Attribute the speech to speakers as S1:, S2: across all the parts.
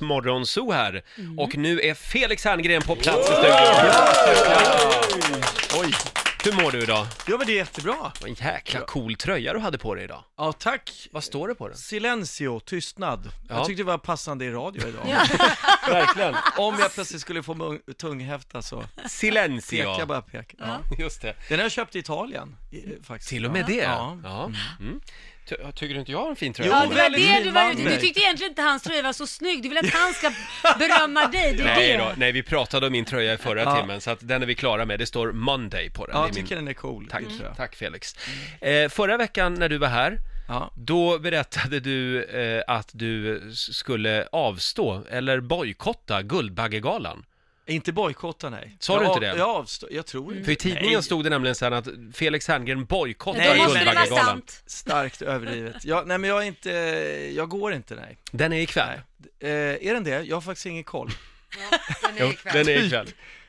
S1: Riksmorgonzoo här. Och nu är Felix Herngren på plats i studion. Oj! Hur mår du idag?
S2: Ja men det är jättebra.
S1: Vad en jäkla cool tröja du hade på dig idag.
S2: Ja tack.
S1: Vad står det på den?
S2: Silencio, tystnad.
S1: Ja.
S2: Jag tyckte det var passande i radio idag.
S1: Verkligen.
S2: Om jag plötsligt skulle få mung- tunghäfta så pekar jag
S1: Silencio.
S2: bara pekar. Ja.
S1: Just det.
S2: Den har jag köpt i Italien i- eh, faktiskt.
S1: Till och med det.
S2: Ja.
S1: Ja. Mm. Ty- Tycker du inte jag har en fin tröja?
S2: Jo,
S3: Ja, det var
S2: väldigt
S3: det
S2: fin
S3: du var
S2: vandring.
S3: Du tyckte egentligen inte hans tröja var så snygg. Du vill att han ska berömma dig. Det är
S1: Nej,
S3: det.
S1: då, nej, vi pratade om min tröja i förra
S2: Ja.
S1: timmen, så att den är vi klara med. Det står Monday på den.
S2: Ja,
S1: Det är
S2: jag
S1: min-
S2: tycker den är cool.
S1: Tack,
S2: tror jag.
S1: tack Felix. Eh, förra veckan när du var här,
S2: Ja.
S1: då berättade du eh, att du s- skulle avstå eller bojkotta Guldbaggegalan.
S2: Inte bojkotta nej.
S1: Sa du
S2: jag,
S1: inte det?
S2: Jag avstår, jag tror inte.
S1: För i tidningen
S2: Nej.
S1: stod det nämligen sen att Felix Herngren bojkottar
S3: Då måste det vara
S1: Guldbaggegalan.
S3: sant.
S2: Starkt överdrivet. Ja, nej men jag är inte, jag går inte nej.
S1: Den är ikväll.
S2: nej. Eh, är den det? Jag har faktiskt ingen koll.
S1: Jo, den
S2: Typ.
S1: är ikväll.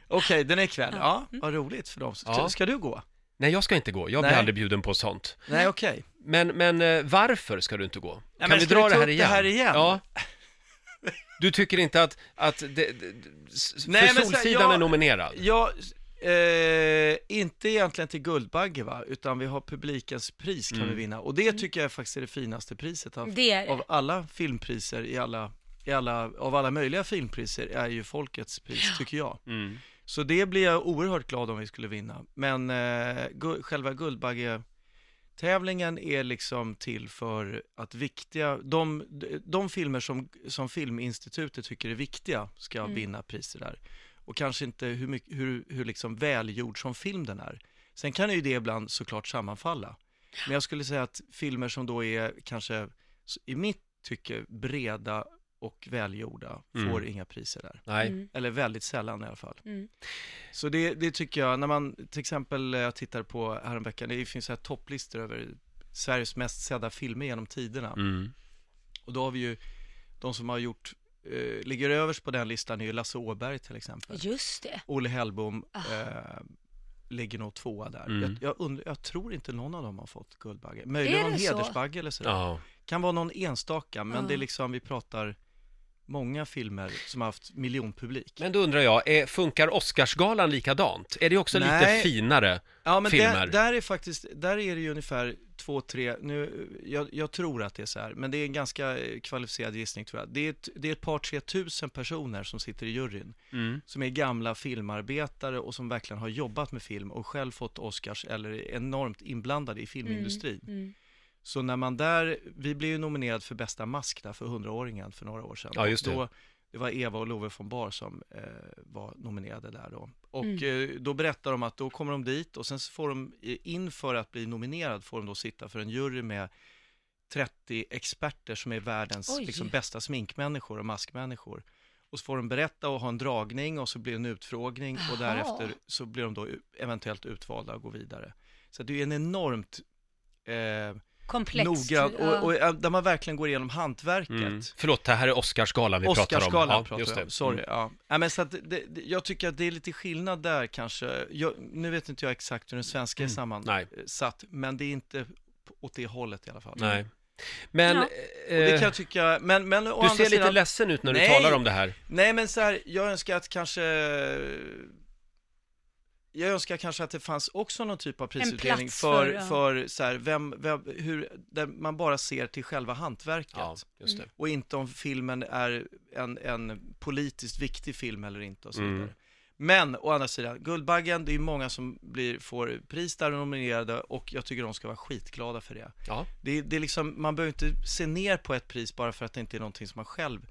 S2: Okej, den är ikväll. Ja, Mm. vad roligt för dem. Ska,
S1: Ja.
S2: ska du gå?
S1: Nej, jag ska inte gå. Jag blir
S2: Nej.
S1: aldrig bjuden på sånt.
S2: Nej, okej.
S1: Men, men eh, varför ska du inte gå? kan
S2: men
S1: vi
S2: ska
S1: dra
S2: vi
S1: det
S2: ta
S1: här
S2: upp det
S1: igen?
S2: här igen?
S1: Ja. Du tycker inte att, att det, det, s-
S2: Nej,
S1: för
S2: men så-
S1: Solsidan
S2: jag-
S1: är nominerad?
S2: Ja, eh, inte egentligen till Guldbagge va, utan vi har publikens pris kan vi vinna. Och det tycker jag faktiskt är det finaste priset av,
S3: Det är det.
S2: av alla filmpriser i alla, i alla, av alla möjliga filmpriser är ju folkets pris tycker jag.
S1: Mm.
S2: Så det blir jag oerhört glad om vi skulle vinna. Men eh, gu, själva Guldbagge Tävlingen är liksom till för att viktiga, de, de filmer som, som Filminstitutet tycker är viktiga ska vinna priser där. Och kanske inte hur, mycket, hur, hur liksom välgjord som film den är. Sen kan ju det ibland såklart sammanfalla. Men jag skulle säga att filmer som då är kanske s- i mitt tycke breda och välgjorda
S1: Mm.
S2: får inga priser där.
S1: Nej.
S2: Eller väldigt sällan i alla fall.
S3: Mm.
S2: Så det, det tycker jag, när man till exempel, eh, jag tittar på häromveckan, det finns så här topplistor över Sveriges mest sedda filmer genom tiderna.
S1: Mm.
S2: Och då har vi ju de som har gjort, eh, ligger överst på den listan är ju Lasse Åberg till exempel.
S3: Just det.
S2: Olle Hellbom
S3: Ah.
S2: eh, ligger nog tvåa där.
S1: Mm.
S2: Jag, jag, undrar, jag tror inte någon av dem har fått Guldbagge. Möjligen
S3: Är det
S2: någon
S3: så? Ah.
S2: hedersbagge eller sådär.
S1: Ja.
S2: Kan vara någon enstaka, men
S3: Ja.
S2: det är liksom, vi pratar många filmer som har haft miljonpublik.
S1: Men då undrar jag, är, funkar Oscarsgalan likadant? Är det också lite
S2: Nej.
S1: finare?
S2: Ja, men
S1: filmer.
S2: där, där är faktiskt, där är det ju ungefär två, tre, nu, jag, jag tror att det är så här, men det är en ganska eh, kvalificerad gissning tror jag. Det är ett, det är ett par, tre tusen personer som sitter i juryn,
S1: Mm.
S2: som är gamla filmarbetare och som verkligen har jobbat med film och själv fått Oscars eller är enormt inblandade i filmindustrin.
S3: mm.
S2: Så när man där, vi blev ju nominerad för bästa mask där för 100-åringen för några år sedan.
S1: Ja, just det.
S2: Och Då, det var Eva och Love von Bar som eh, var nominerade där då. Och eh, då berättar de att då kommer de dit och sen så får de, eh, inför att bli nominerad, får de då sitta för en jury med 30 experter som är världens
S3: Oj.
S2: liksom, bästa sminkmänniskor och maskmänniskor. Och så får de berätta och ha en dragning och så blir det en utfrågning och
S3: Jaha.
S2: därefter så blir de då eventuellt utvalda och går vidare. Så det är ju en enormt eh,
S3: Komplext.
S2: noggrann
S3: Ja.
S2: och, och eh, där man verkligen går igenom hantverket.
S1: Mm. Förlåt, det här är Oscarsgalan vi pratar om.
S2: Oscarsgalan pratar
S1: just
S2: jag om,
S1: det.
S2: sorry.
S1: Mm.
S2: Ja. Ja, men så att det, det, jag tycker att det är lite skillnad där kanske. Jag, nu vet inte jag exakt hur den svenska är
S1: Mm. nej.
S2: sammansatt, men det är inte p- åt det hållet i alla fall.
S1: Nej. Men,
S3: Ja.
S2: Och det
S1: eh,
S2: kan jag tycka, men, men å
S1: du
S2: andra
S1: ser lite
S2: sidan,
S1: ledsen ut när du
S2: Nej.
S1: talar om det här.
S2: Nej men så här, jag önskar att kanske jag önskar kanske att det fanns också någon typ av prisutdelning
S3: plats
S2: för,
S3: för,
S2: för,
S3: ja.
S2: så här, vem, vem, hur, där man bara ser till själva hantverket
S1: Ja, just det.
S2: och inte om filmen är en, en politiskt viktig film eller inte och så
S1: Mm.
S2: vidare. Men å andra sidan, Guldbaggen, det är ju många som blir, får pris där och nominerade och jag tycker de ska vara skitglada för det.
S1: Ja.
S2: Det, är- det är liksom, man behöver inte se ner på ett pris bara för att det inte är någonting som man själv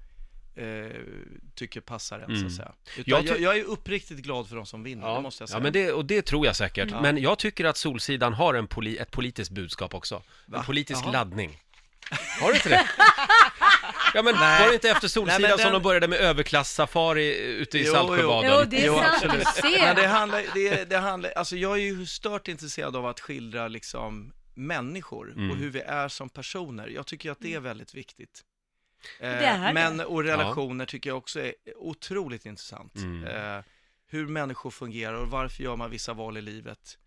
S2: eh, tycker passar en, så
S1: Mm.
S2: att säga. Utan
S1: Jag
S2: jag,
S1: ty-
S2: jag, jag är uppriktigt glad för de som vinner, det
S1: Ja.
S2: måste jag säga. Mm.
S1: ja, men det, och det tror jag säkert. Men jag tycker att Solsidan har en poli, ett politiskt budskap också. En politisk
S2: Jaha.
S1: laddning. Har du inte det? Ja men var det inte efter Solsidan
S2: Nej, men
S1: som
S2: den-
S1: de började med överklass-safari eh, ute i
S2: Jo, jo.
S1: Saltsjöbaden?
S3: Jo, det är
S2: Jo,
S3: sant. Du ser.
S2: Men det handlar, det, det handlar, alltså jag är ju stört intresserad av att skildra liksom människor och hur vi är som personer. Jag tycker ju att det är väldigt viktigt. Eh,
S3: är det.
S2: men, och relationer tycker jag också är otroligt intressant. Eh, hur människor fungerar och varför gör man vissa val i livet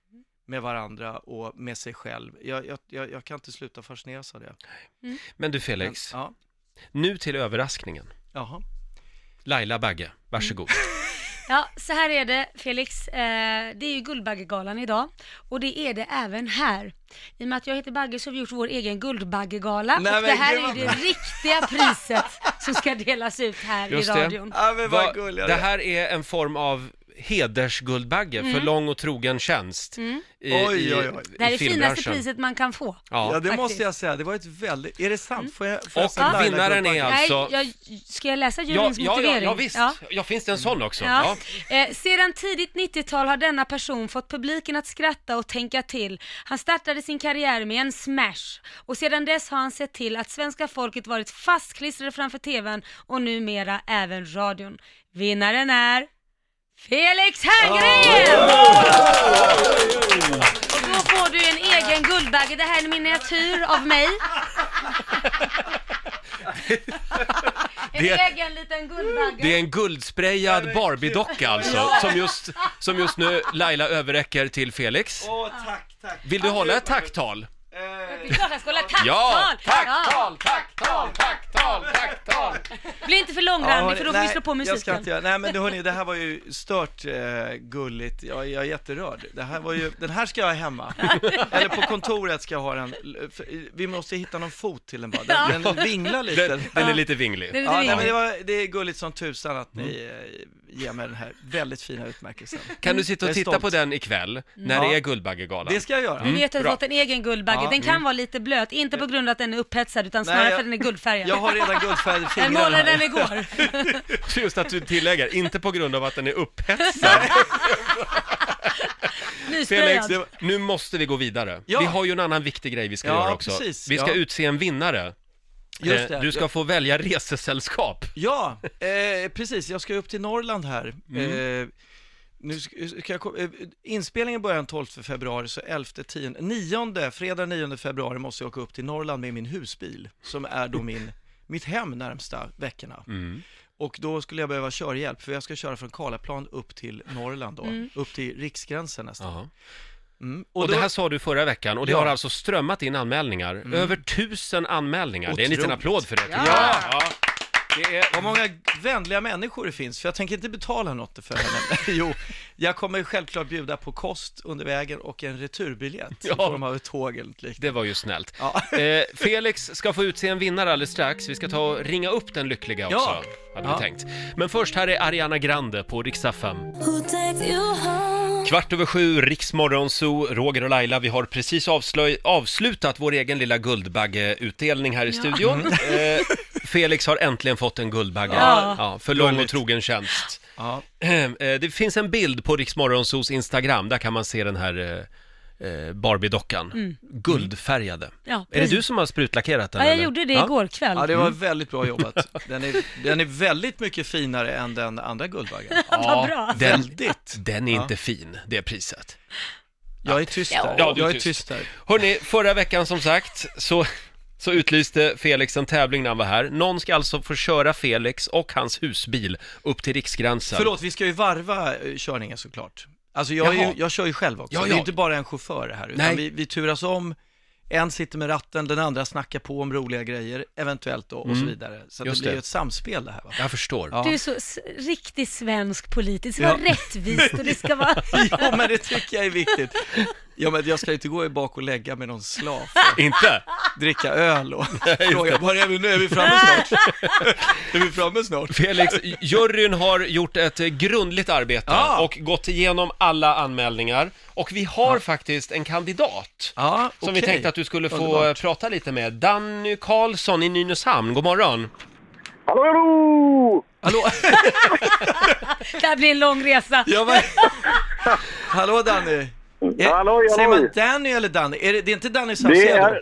S2: med varandra och med sig själv. Jag, jag, jag, jag kan inte sluta fascineras av det.
S1: Men du Felix,
S2: ja.
S1: nu till överraskningen.
S2: Jaha.
S1: Laila Bagge, varsågod.
S3: Ja, så här är det Felix. Eh, det är ju Guldbaggegalan idag och det är det även här. I och med att jag heter Bagge så har vi gjort vår egen Guldbaggegala
S2: Nej,
S3: och det
S2: men
S3: här
S2: gud,
S3: är
S2: vad
S3: ju det
S2: bra.
S3: riktiga priset som ska delas ut här
S1: Just
S3: i
S1: det.
S3: radion.
S2: Ja, men
S1: Va-
S2: vad gulliga
S1: det
S2: ni är.
S1: här är en form av hedersguldbagge för lång och trogen tjänst. I,
S2: Oj, oj, oj.
S1: i-
S3: Mm. Det här
S1: i
S3: är det finaste
S1: filmbranschen.
S3: priset man kan få.
S2: Ja,
S1: Ja.
S2: det
S3: faktiskt.
S2: måste jag säga. Det var ett väldigt... Är det sant? Får jag, får jag
S1: Och
S2: säga Laila
S1: vinnaren är
S2: Guldbagge?
S1: alltså-
S3: Nej, jag, ska jag läsa
S1: Ja,
S3: juryns
S1: ja, ja,
S3: motivering?
S1: ja, visst. Ja. finns det en sån också?
S3: Ja.
S1: Ja.
S3: Eh, sedan tidigt 90-tal har denna person fått publiken att skratta och tänka till. Han startade sin karriär med en smash och sedan dess har han sett till att svenska folket varit fastklistrade framför TVn och numera även radion. Vinnaren är Felix Herngren! Och då får du en egen Guldbagge. Det här är en miniatyr av mig. En
S1: Det-
S3: egen liten Guldbagge.
S1: Det är en guldsprayad Barbie-docka alltså, som just, som just nu Laila överräcker till Felix.
S2: Åh, tack, tack. Eh,
S1: Vill du hålla ett tacktal?
S3: Det är klart jag ska hålla tacktal!
S1: Ja,
S3: Ja.
S1: tacktal, tacktal, tacktal, tacktal!
S3: Bli inte för långrandig för då får vi slå på musiken.
S2: Jag ska inte göra. Nej men du, hörni, det här var ju stört eh, gulligt. Jag, jag är jätterörd. Det här var ju, den här ska jag ha hemma. Eller på kontoret ska jag ha den. För Vi måste hitta någon fot till den bara. Den, den vinglar lite.
S1: Den, den är lite vinglig.
S3: Det är lite
S2: Ja, nej, men
S3: vingligt.
S2: det, var, det är gulligt som tusan att ni
S1: Mm.
S2: eh, ger mig den här väldigt fina utmärkelsen.
S1: Kan du sitta och
S2: Jag är
S1: titta
S2: stolt.
S1: på den ikväll, när
S2: Ja.
S3: Mm.
S1: det är Guldbaggegalan?
S2: Det ska jag göra.
S3: Du vet att du
S1: Mm. bra.
S3: har fått en egen Guldbagge.
S2: Ja, mm.
S3: Den kan vara lite blöt, inte på grund av att den är upphetsad utan snarare
S2: jag-
S3: för att den är guldfärgad.
S2: Jag har redan guldfärgade
S3: jag
S2: fingrar
S3: målade den
S2: här.
S3: igår.
S1: Just att du tillägger, inte på grund av att den är upphetsad. Felix,
S3: Nysprayad.
S1: det, nu måste vi gå vidare.
S2: Ja.
S1: Vi har ju en annan viktig grej vi ska
S2: Ja,
S1: göra också.
S2: precis,
S1: vi ska
S2: ja.
S1: utse en vinnare.
S2: Just
S1: Eh,
S2: det.
S1: Du ska få välja resesällskap.
S2: Ja, eh, precis. Jag ska upp till Norrland här.
S1: Mm.
S2: Eh, nu sk- ska jag, kom- eh, inspelningen börjar den 12 februari, så 11, 10, 9, fredag 9 februari måste jag åka upp till Norrland med min husbil, som är då min, mitt hem närmsta veckorna.
S1: Mm.
S2: Och då skulle jag behöva körhjälp, för jag ska köra från Karlaplan upp till Norrland då, upp till riksgränsen nästan.
S1: Jaha.
S2: Mm.
S1: Och,
S2: då-
S1: det här sa du förra veckan och det
S2: Ja. Mm.
S1: har alltså strömmat in anmälningar. Över tusen anmälningar. Det är en liten
S2: Otroligt.
S1: applåd för det tycker
S3: Ja.
S1: jag. Ja. Det är...
S2: Vad många vänliga människor det finns, för jag tänker inte betala något för henne. jo, jag kommer självklart bjuda på kost under vägen och en returbiljett
S1: Ja.
S2: i form av ett tåg eller något liknande.
S1: Det var ju snällt.
S2: Ja.
S1: Eh, Felix ska få utse en vinnare alldeles strax. Vi ska ta och ringa upp den lyckliga också,
S2: Ja.
S1: hade
S2: Ja.
S1: vi tänkt. Men först, här är Ariana Grande på riksdag 5.
S4: Who takes you home?
S1: Kvart över sju, Riksmorgonzoo, Roger och Laila. Vi har precis avslöj- avslutat vår egen lilla Guldbaggeutdelning här i studion.
S2: Mm.
S1: Eh, Felix har äntligen fått en Guldbagge.
S3: Ja.
S1: för lång och
S2: Gulligt.
S1: trogen tjänst.
S2: Ja.
S1: Eh, Det finns en bild på Riksmorgonzoos Instagram, där kan man se den här eh, eh, Barbie-dockan.
S2: Mm.
S1: Guldfärgade.
S3: Ja,
S1: Är det du som har sprutlackerat den?
S3: Ja, jag
S1: eller?
S3: gjorde det
S1: Ja.
S3: igår kväll.
S2: ja, det
S1: Mm.
S2: var väldigt bra jobbat. Den är, den är väldigt mycket finare än den andra Guldbaggen.
S3: Vad bra.
S1: Den,
S2: Väldigt.
S1: den är inte fin, det priset.
S2: Jag är tyst där.
S1: Ja, du är
S2: jag är
S1: tyst.
S2: tyst där.
S1: Hörni, förra veckan som sagt så, så utlyste Felix en tävling när han var här. Någon ska alltså få köra Felix och hans husbil upp till Riksgränsen.
S2: Förlåt, vi ska ju varva eh, körningen såklart. Alltså jag, är
S1: Jaha.
S2: ju, jag kör ju själv också.
S1: Ja,
S2: Det
S1: ja.
S2: är inte bara en chaufför här,
S1: Nej.
S2: utan vi, vi turas om. En sitter med ratten, den andra snackar på om roliga grejer, eventuellt då, och så vidare. Så att
S1: Mm. Just
S2: det blir
S1: det.
S2: ju ett samspel det här. Va?
S1: Jag förstår.
S2: Ja.
S3: Du är så s- riktig svensk politisk. Det ska vara rättvist och det ska vara...
S2: Jo, men det tycker jag är viktigt. Ja, men jag ska ju inte gå i bak och lägga med någon slav,
S1: Inte?
S2: dricka öl och fråga, var är vi nu? Är vi framme snart? är vi framme snart?
S1: Felix, juryn har gjort ett eh, grundligt arbete
S2: Ja.
S1: och gått igenom alla anmälningar. Och vi har faktiskt en kandidat
S2: Ja,
S1: som vi
S2: okej.
S1: tänkte att du skulle få
S2: Underbart.
S1: eh, prata lite med. Danny Karlsson i Nynäshamn, god morgon.
S5: Hallå, hallå!
S2: Hallå?
S3: Det här blir en lång resa.
S2: Ja, men... Hallå Danny! Är,
S5: Hallå,
S2: Säger
S5: hallå.
S2: man Danny eller Danny? Är det, det är inte Danny
S5: Det
S2: Saucedo?
S5: är...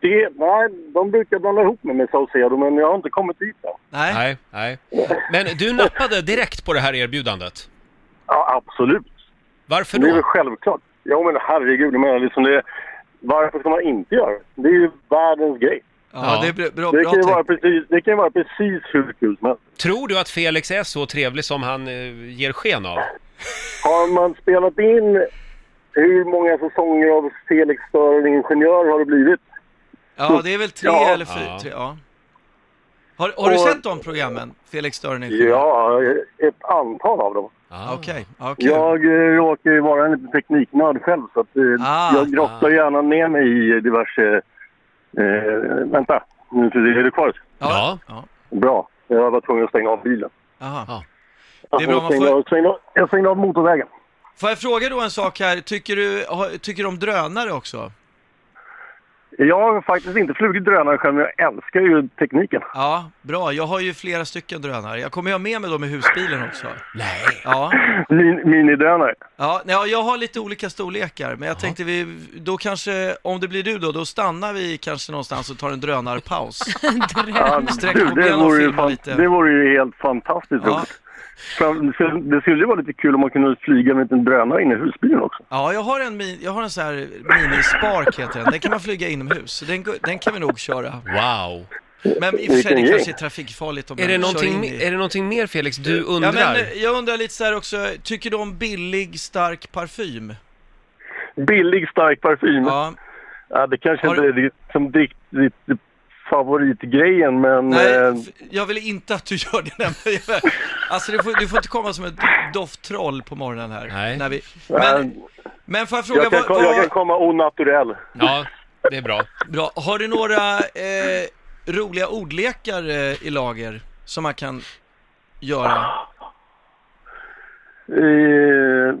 S5: Det, nej, de brukar blanda ihop mig med Saucedo, men jag har inte kommit dit än.
S2: Nej.
S1: Nej, nej. Men du nappade direkt på det här erbjudandet.
S5: Ja, absolut.
S1: Varför
S5: Det är väl
S1: då?
S5: självklart. Jo, men herregud, jag menar liksom det... Varför ska man inte göra det? Det är ju världens grej.
S2: Ja,
S1: Ja.
S2: det är bra, bra,
S5: Det
S2: bra
S5: kan ju
S2: tänkt.
S5: vara precis, det kan ju vara precis hur kul som helst.
S1: Tror du att Felix är så trevlig som han eh, ger sken av?
S2: Ah.
S5: Har man spelat in hur många säsonger av Felix Stör och Ingenjör har det blivit?
S2: Ja, det är väl tre
S5: Ja.
S2: eller fyra.
S1: Ja.
S2: Tre, ja. Har, har du
S5: Och-
S2: sett de programmen? Felix Dörren
S5: Ja, ett antal av dem.
S1: Ah.
S2: Okej, ja, kul.
S5: Jag eh, råkar ju vara en liten tekniknörd själv så att, eh,
S2: Ah,
S5: jag grottar
S1: ah.
S5: gärna ner mig i diverse... Eh, vänta, nu så är du kvar?
S1: Ja.
S2: ja.
S5: Bra, jag var tvungen att stänga av bilen.
S2: Aha.
S5: Ja,
S2: Det är bra,
S5: jag,
S2: man
S5: stängde
S2: får-
S5: av, stängde av, jag stängde av motorvägen.
S2: Får jag fråga då en sak här? Tycker du, har- tycker du om drönare också?
S5: Jag har faktiskt inte flugit drönare själv, men jag älskar ju tekniken.
S2: Ja, bra. Jag har ju flera stycken drönare. Jag kommer ju ha med mig dem i husbilen också.
S1: Nej.
S2: Ja,
S5: Min, minidrönare.
S2: ja nej, ja, jag har lite olika storlekar, men jag tänkte vi, då kanske, om det blir du då, då stannar vi kanske någonstans och tar en drönarpaus.
S5: Ja,
S2: Sträck
S5: du,
S2: på
S5: det,
S2: benen och
S5: vore ju
S2: filma
S5: fan,
S2: lite.
S5: det vore ju helt fantastiskt
S2: Ja.
S5: roligt. Fram- så- Det skulle ju vara lite kul om man kunde flyga med en liten drönare in i husbilen också.
S2: Ja, jag har en, min, jag har en sån här mini-spark heter den. Den kan man flyga inomhus. så Den, går- den kan vi nog köra.
S1: Wow.
S2: Men i och för sig,
S5: Vilken
S2: det
S5: grej.
S2: kanske är trafikfarligt om
S1: Är
S2: man
S1: det,
S2: kör in
S1: någonting,
S2: i...
S1: är det någonting mer Felix du
S2: Ja,
S1: undrar?
S2: men eh, jag undrar lite så här också, tycker du om billig stark parfym?
S5: Mm. Billig, stark parfym. Ja.
S2: Ja,
S5: det kanske
S2: Har
S5: inte
S2: du-
S5: är det, som direkt ditt favoritgrejen, men...
S2: nej,
S5: eh,
S2: f- jag vill inte att du gör det nämligen. Alltså du får, du får inte komma som ett dofttroll på morgonen här.
S1: Nej.
S2: När vi,
S5: Nej,
S2: men, men får jag fråga,
S5: jag, kan,
S2: vad,
S5: jag kan
S2: vad,
S5: komma onaturell.
S1: Ja, det är bra.
S2: bra, har du några eh, roliga ordlekar eh, i lager som man kan göra?
S5: Eh,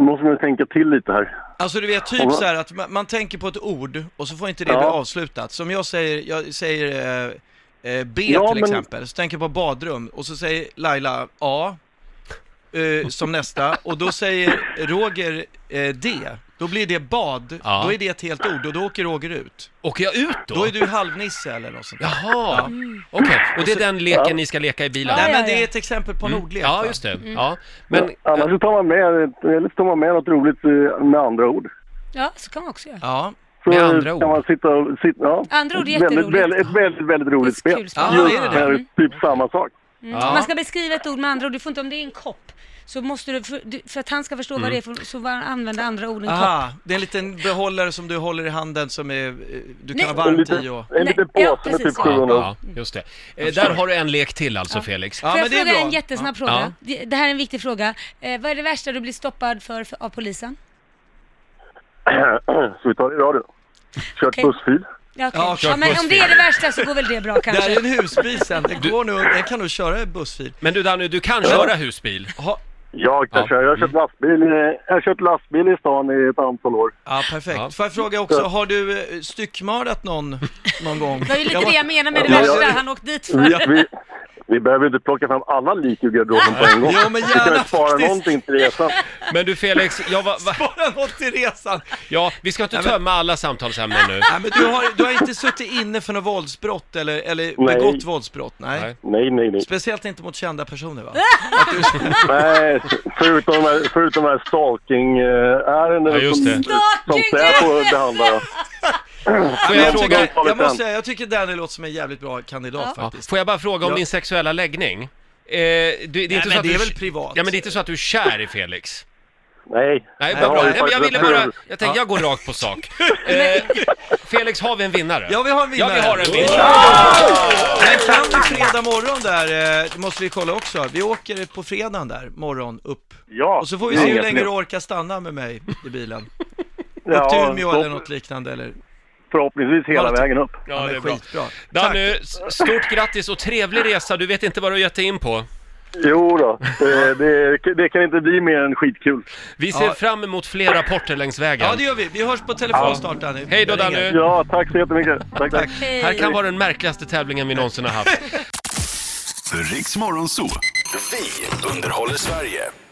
S5: måste man tänka till lite här.
S2: Alltså du vet typ så här att man, man tänker på ett ord och så får inte det bli
S5: Ja.
S2: avslutat. Som jag säger, jag säger eh, eh, B
S5: Ja,
S2: till
S5: men-
S2: exempel, så tänker jag på badrum och så säger Laila A eh, som nästa och då säger Roger eh, D. Då blir det bad,
S1: Ja.
S2: då är det ett helt ord och då åker Roger ut.
S1: Åker jag ut då?
S2: Då är du halvnisse eller något sånt där.
S1: Jaha, okej. Och det är den leken ni ska leka i bilen?
S3: Ja,
S2: Nej
S3: ja,
S2: men det
S3: ja.
S2: är alltså. Mm. ett exempel på en ordlek
S1: Mm. Ja,
S2: va?
S1: just det. Ja. Men,
S5: Annars så tar man med, eller så tar man med något roligt eh, med andra ord.
S3: Ja, så kan man också göra.
S2: Ja.
S5: Så
S1: Med andra
S5: kan
S1: ord.
S5: man sitta och... Sitta, ja.
S3: Andra ord är
S5: Väldigt,
S3: jätteroligt.
S5: väldigt- ett väldigt, väldigt roligt
S3: Det är ett
S5: spel.
S3: kul
S2: Ja,
S3: spel.
S5: Just
S2: är det det?
S5: med
S2: Mm.
S5: typ samma sak.
S1: Ja.
S3: Mm. Man ska beskriva ett ord med andra ord, du får inte om det är en kopp. Så måste du, för, du- för att han ska förstå vad det är, för, så var- använda andra ord än kopp.
S2: Aha, Ah, det är en liten behållare som du håller i handen som är, eh, du kan
S3: Nej.
S2: ha
S5: En
S2: varmt
S5: liten,
S2: i och...
S5: en liten
S3: Nej, ja,
S5: påse med typ
S3: precis, ja.
S1: ja,
S5: 700.
S1: ja, just det. Eh, där har du en lek till alltså, Felix.
S2: Ja,
S3: Får
S2: men
S3: jag
S2: det är
S3: fråga
S2: bra.
S3: en jättesnabb fråga?
S1: Ja.
S3: Det, det här är en viktig fråga. Eh, vad är det värsta du blir stoppad för, för av polisen?
S5: Så vi tar det i radio. Kört
S3: Okej.
S5: bussfil.
S3: Ja, okej.
S2: Ja,
S3: ja,
S2: kört
S3: men om det är det värsta så går väl det bra
S2: Det här är
S3: kanske?
S2: en husbil sen, den, går nog, den kan nog köra i bussfil.
S1: Men du Danny, du kan köra husbil?
S2: Ha,
S5: Jag kan
S1: Ja.
S5: köra. Jag har kört
S2: Mm.
S5: lastbil, eh, jag har kört lastbil i stan i ett antal år.
S2: ja, perfekt.
S1: Ja.
S2: Får jag fråga också, har du eh, styckmördat någon någon gång?
S3: Det var ju lite
S2: Jag var-
S3: det jag menade med det
S5: Ja, Mm. jag-
S3: värsta han åkte dit för.
S5: Vi, vi, vi behöver inte plocka fram alla lik ur garderoben på en gång.
S2: Jo, men
S5: vi kan
S2: gärna
S5: ju spara
S2: faktiskt.
S5: någonting till resan.
S1: Men du Felix, jag var, va,
S2: Bara något till resan.
S1: ja, vi ska inte
S2: Nej, men-
S1: tömma alla samtalsämnen nu.
S2: Nej, men du har, du har inte suttit inne för något våldsbrott eller, eller
S5: Nej.
S2: begått våldsbrott? Nej.
S1: Nej.
S5: Nej, nej, nej.
S2: Speciellt inte mot kända personer va?
S5: nej förutom, de här- förutom de här stalking-ärendena
S1: Ja, just det.
S5: som, som Säpo behandlar.
S1: Får jag, fråga,
S5: jag frågar-
S2: jag måste
S5: den.
S2: säga, jag tycker Danny låter som en jävligt bra kandidat
S1: ja,
S2: faktiskt.
S1: får jag bara fråga om
S2: Ja.
S1: din sexuella läggning? Eh, det, det är, inte
S2: men
S1: så att
S2: det
S1: du,
S2: är väl privat.
S1: Ja, men det är inte så att du är kär i Felix?
S5: Nej,
S1: Nej,
S5: jag
S1: vad
S5: har
S1: bra. Nej,
S5: ju
S1: men jag
S5: faktiskt
S1: ville
S5: en
S1: bara,
S5: bror.
S1: jag tänkte jag går rakt på sak. Eh, Felix, har vi en vinnare?
S2: Ja, vi har en vinnare.
S1: Ja, vi har en vinnare.
S2: Men kan vi fredag morgon där, eh, det måste vi kolla också. Vi åker på fredagen där, morgon upp.
S5: Ja,
S2: Och så får vi
S5: det är
S2: se hur
S5: inget
S2: länge
S5: nytt.
S2: du orkar stanna med mig i bilen.
S5: Ja,
S2: Upp till Umeå eller
S5: förhopp-
S2: något liknande eller?
S5: Förhoppningsvis hela
S2: Ja, det-
S5: vägen upp.
S1: Ja, det är bra.
S2: skitbra.
S1: Danny, s- stort grattis och trevlig resa. Du vet inte vad du har gett dig in på.
S5: Jo då, eh, det, det kan inte bli mer än skitkul.
S1: Vi ser
S2: Ja.
S1: fram emot fler rapporter längs vägen.
S2: Ja, det gör vi. Vi hörs på telefon snart Danny.
S1: Hej då,
S2: Jag ringer.
S1: Danny.
S5: Ja, tack så jättemycket. Tack, tack.
S1: Här kan vara den märkligaste tävlingen vi någonsin har haft.
S6: Riks Morgonzoo. Vi underhåller Sverige.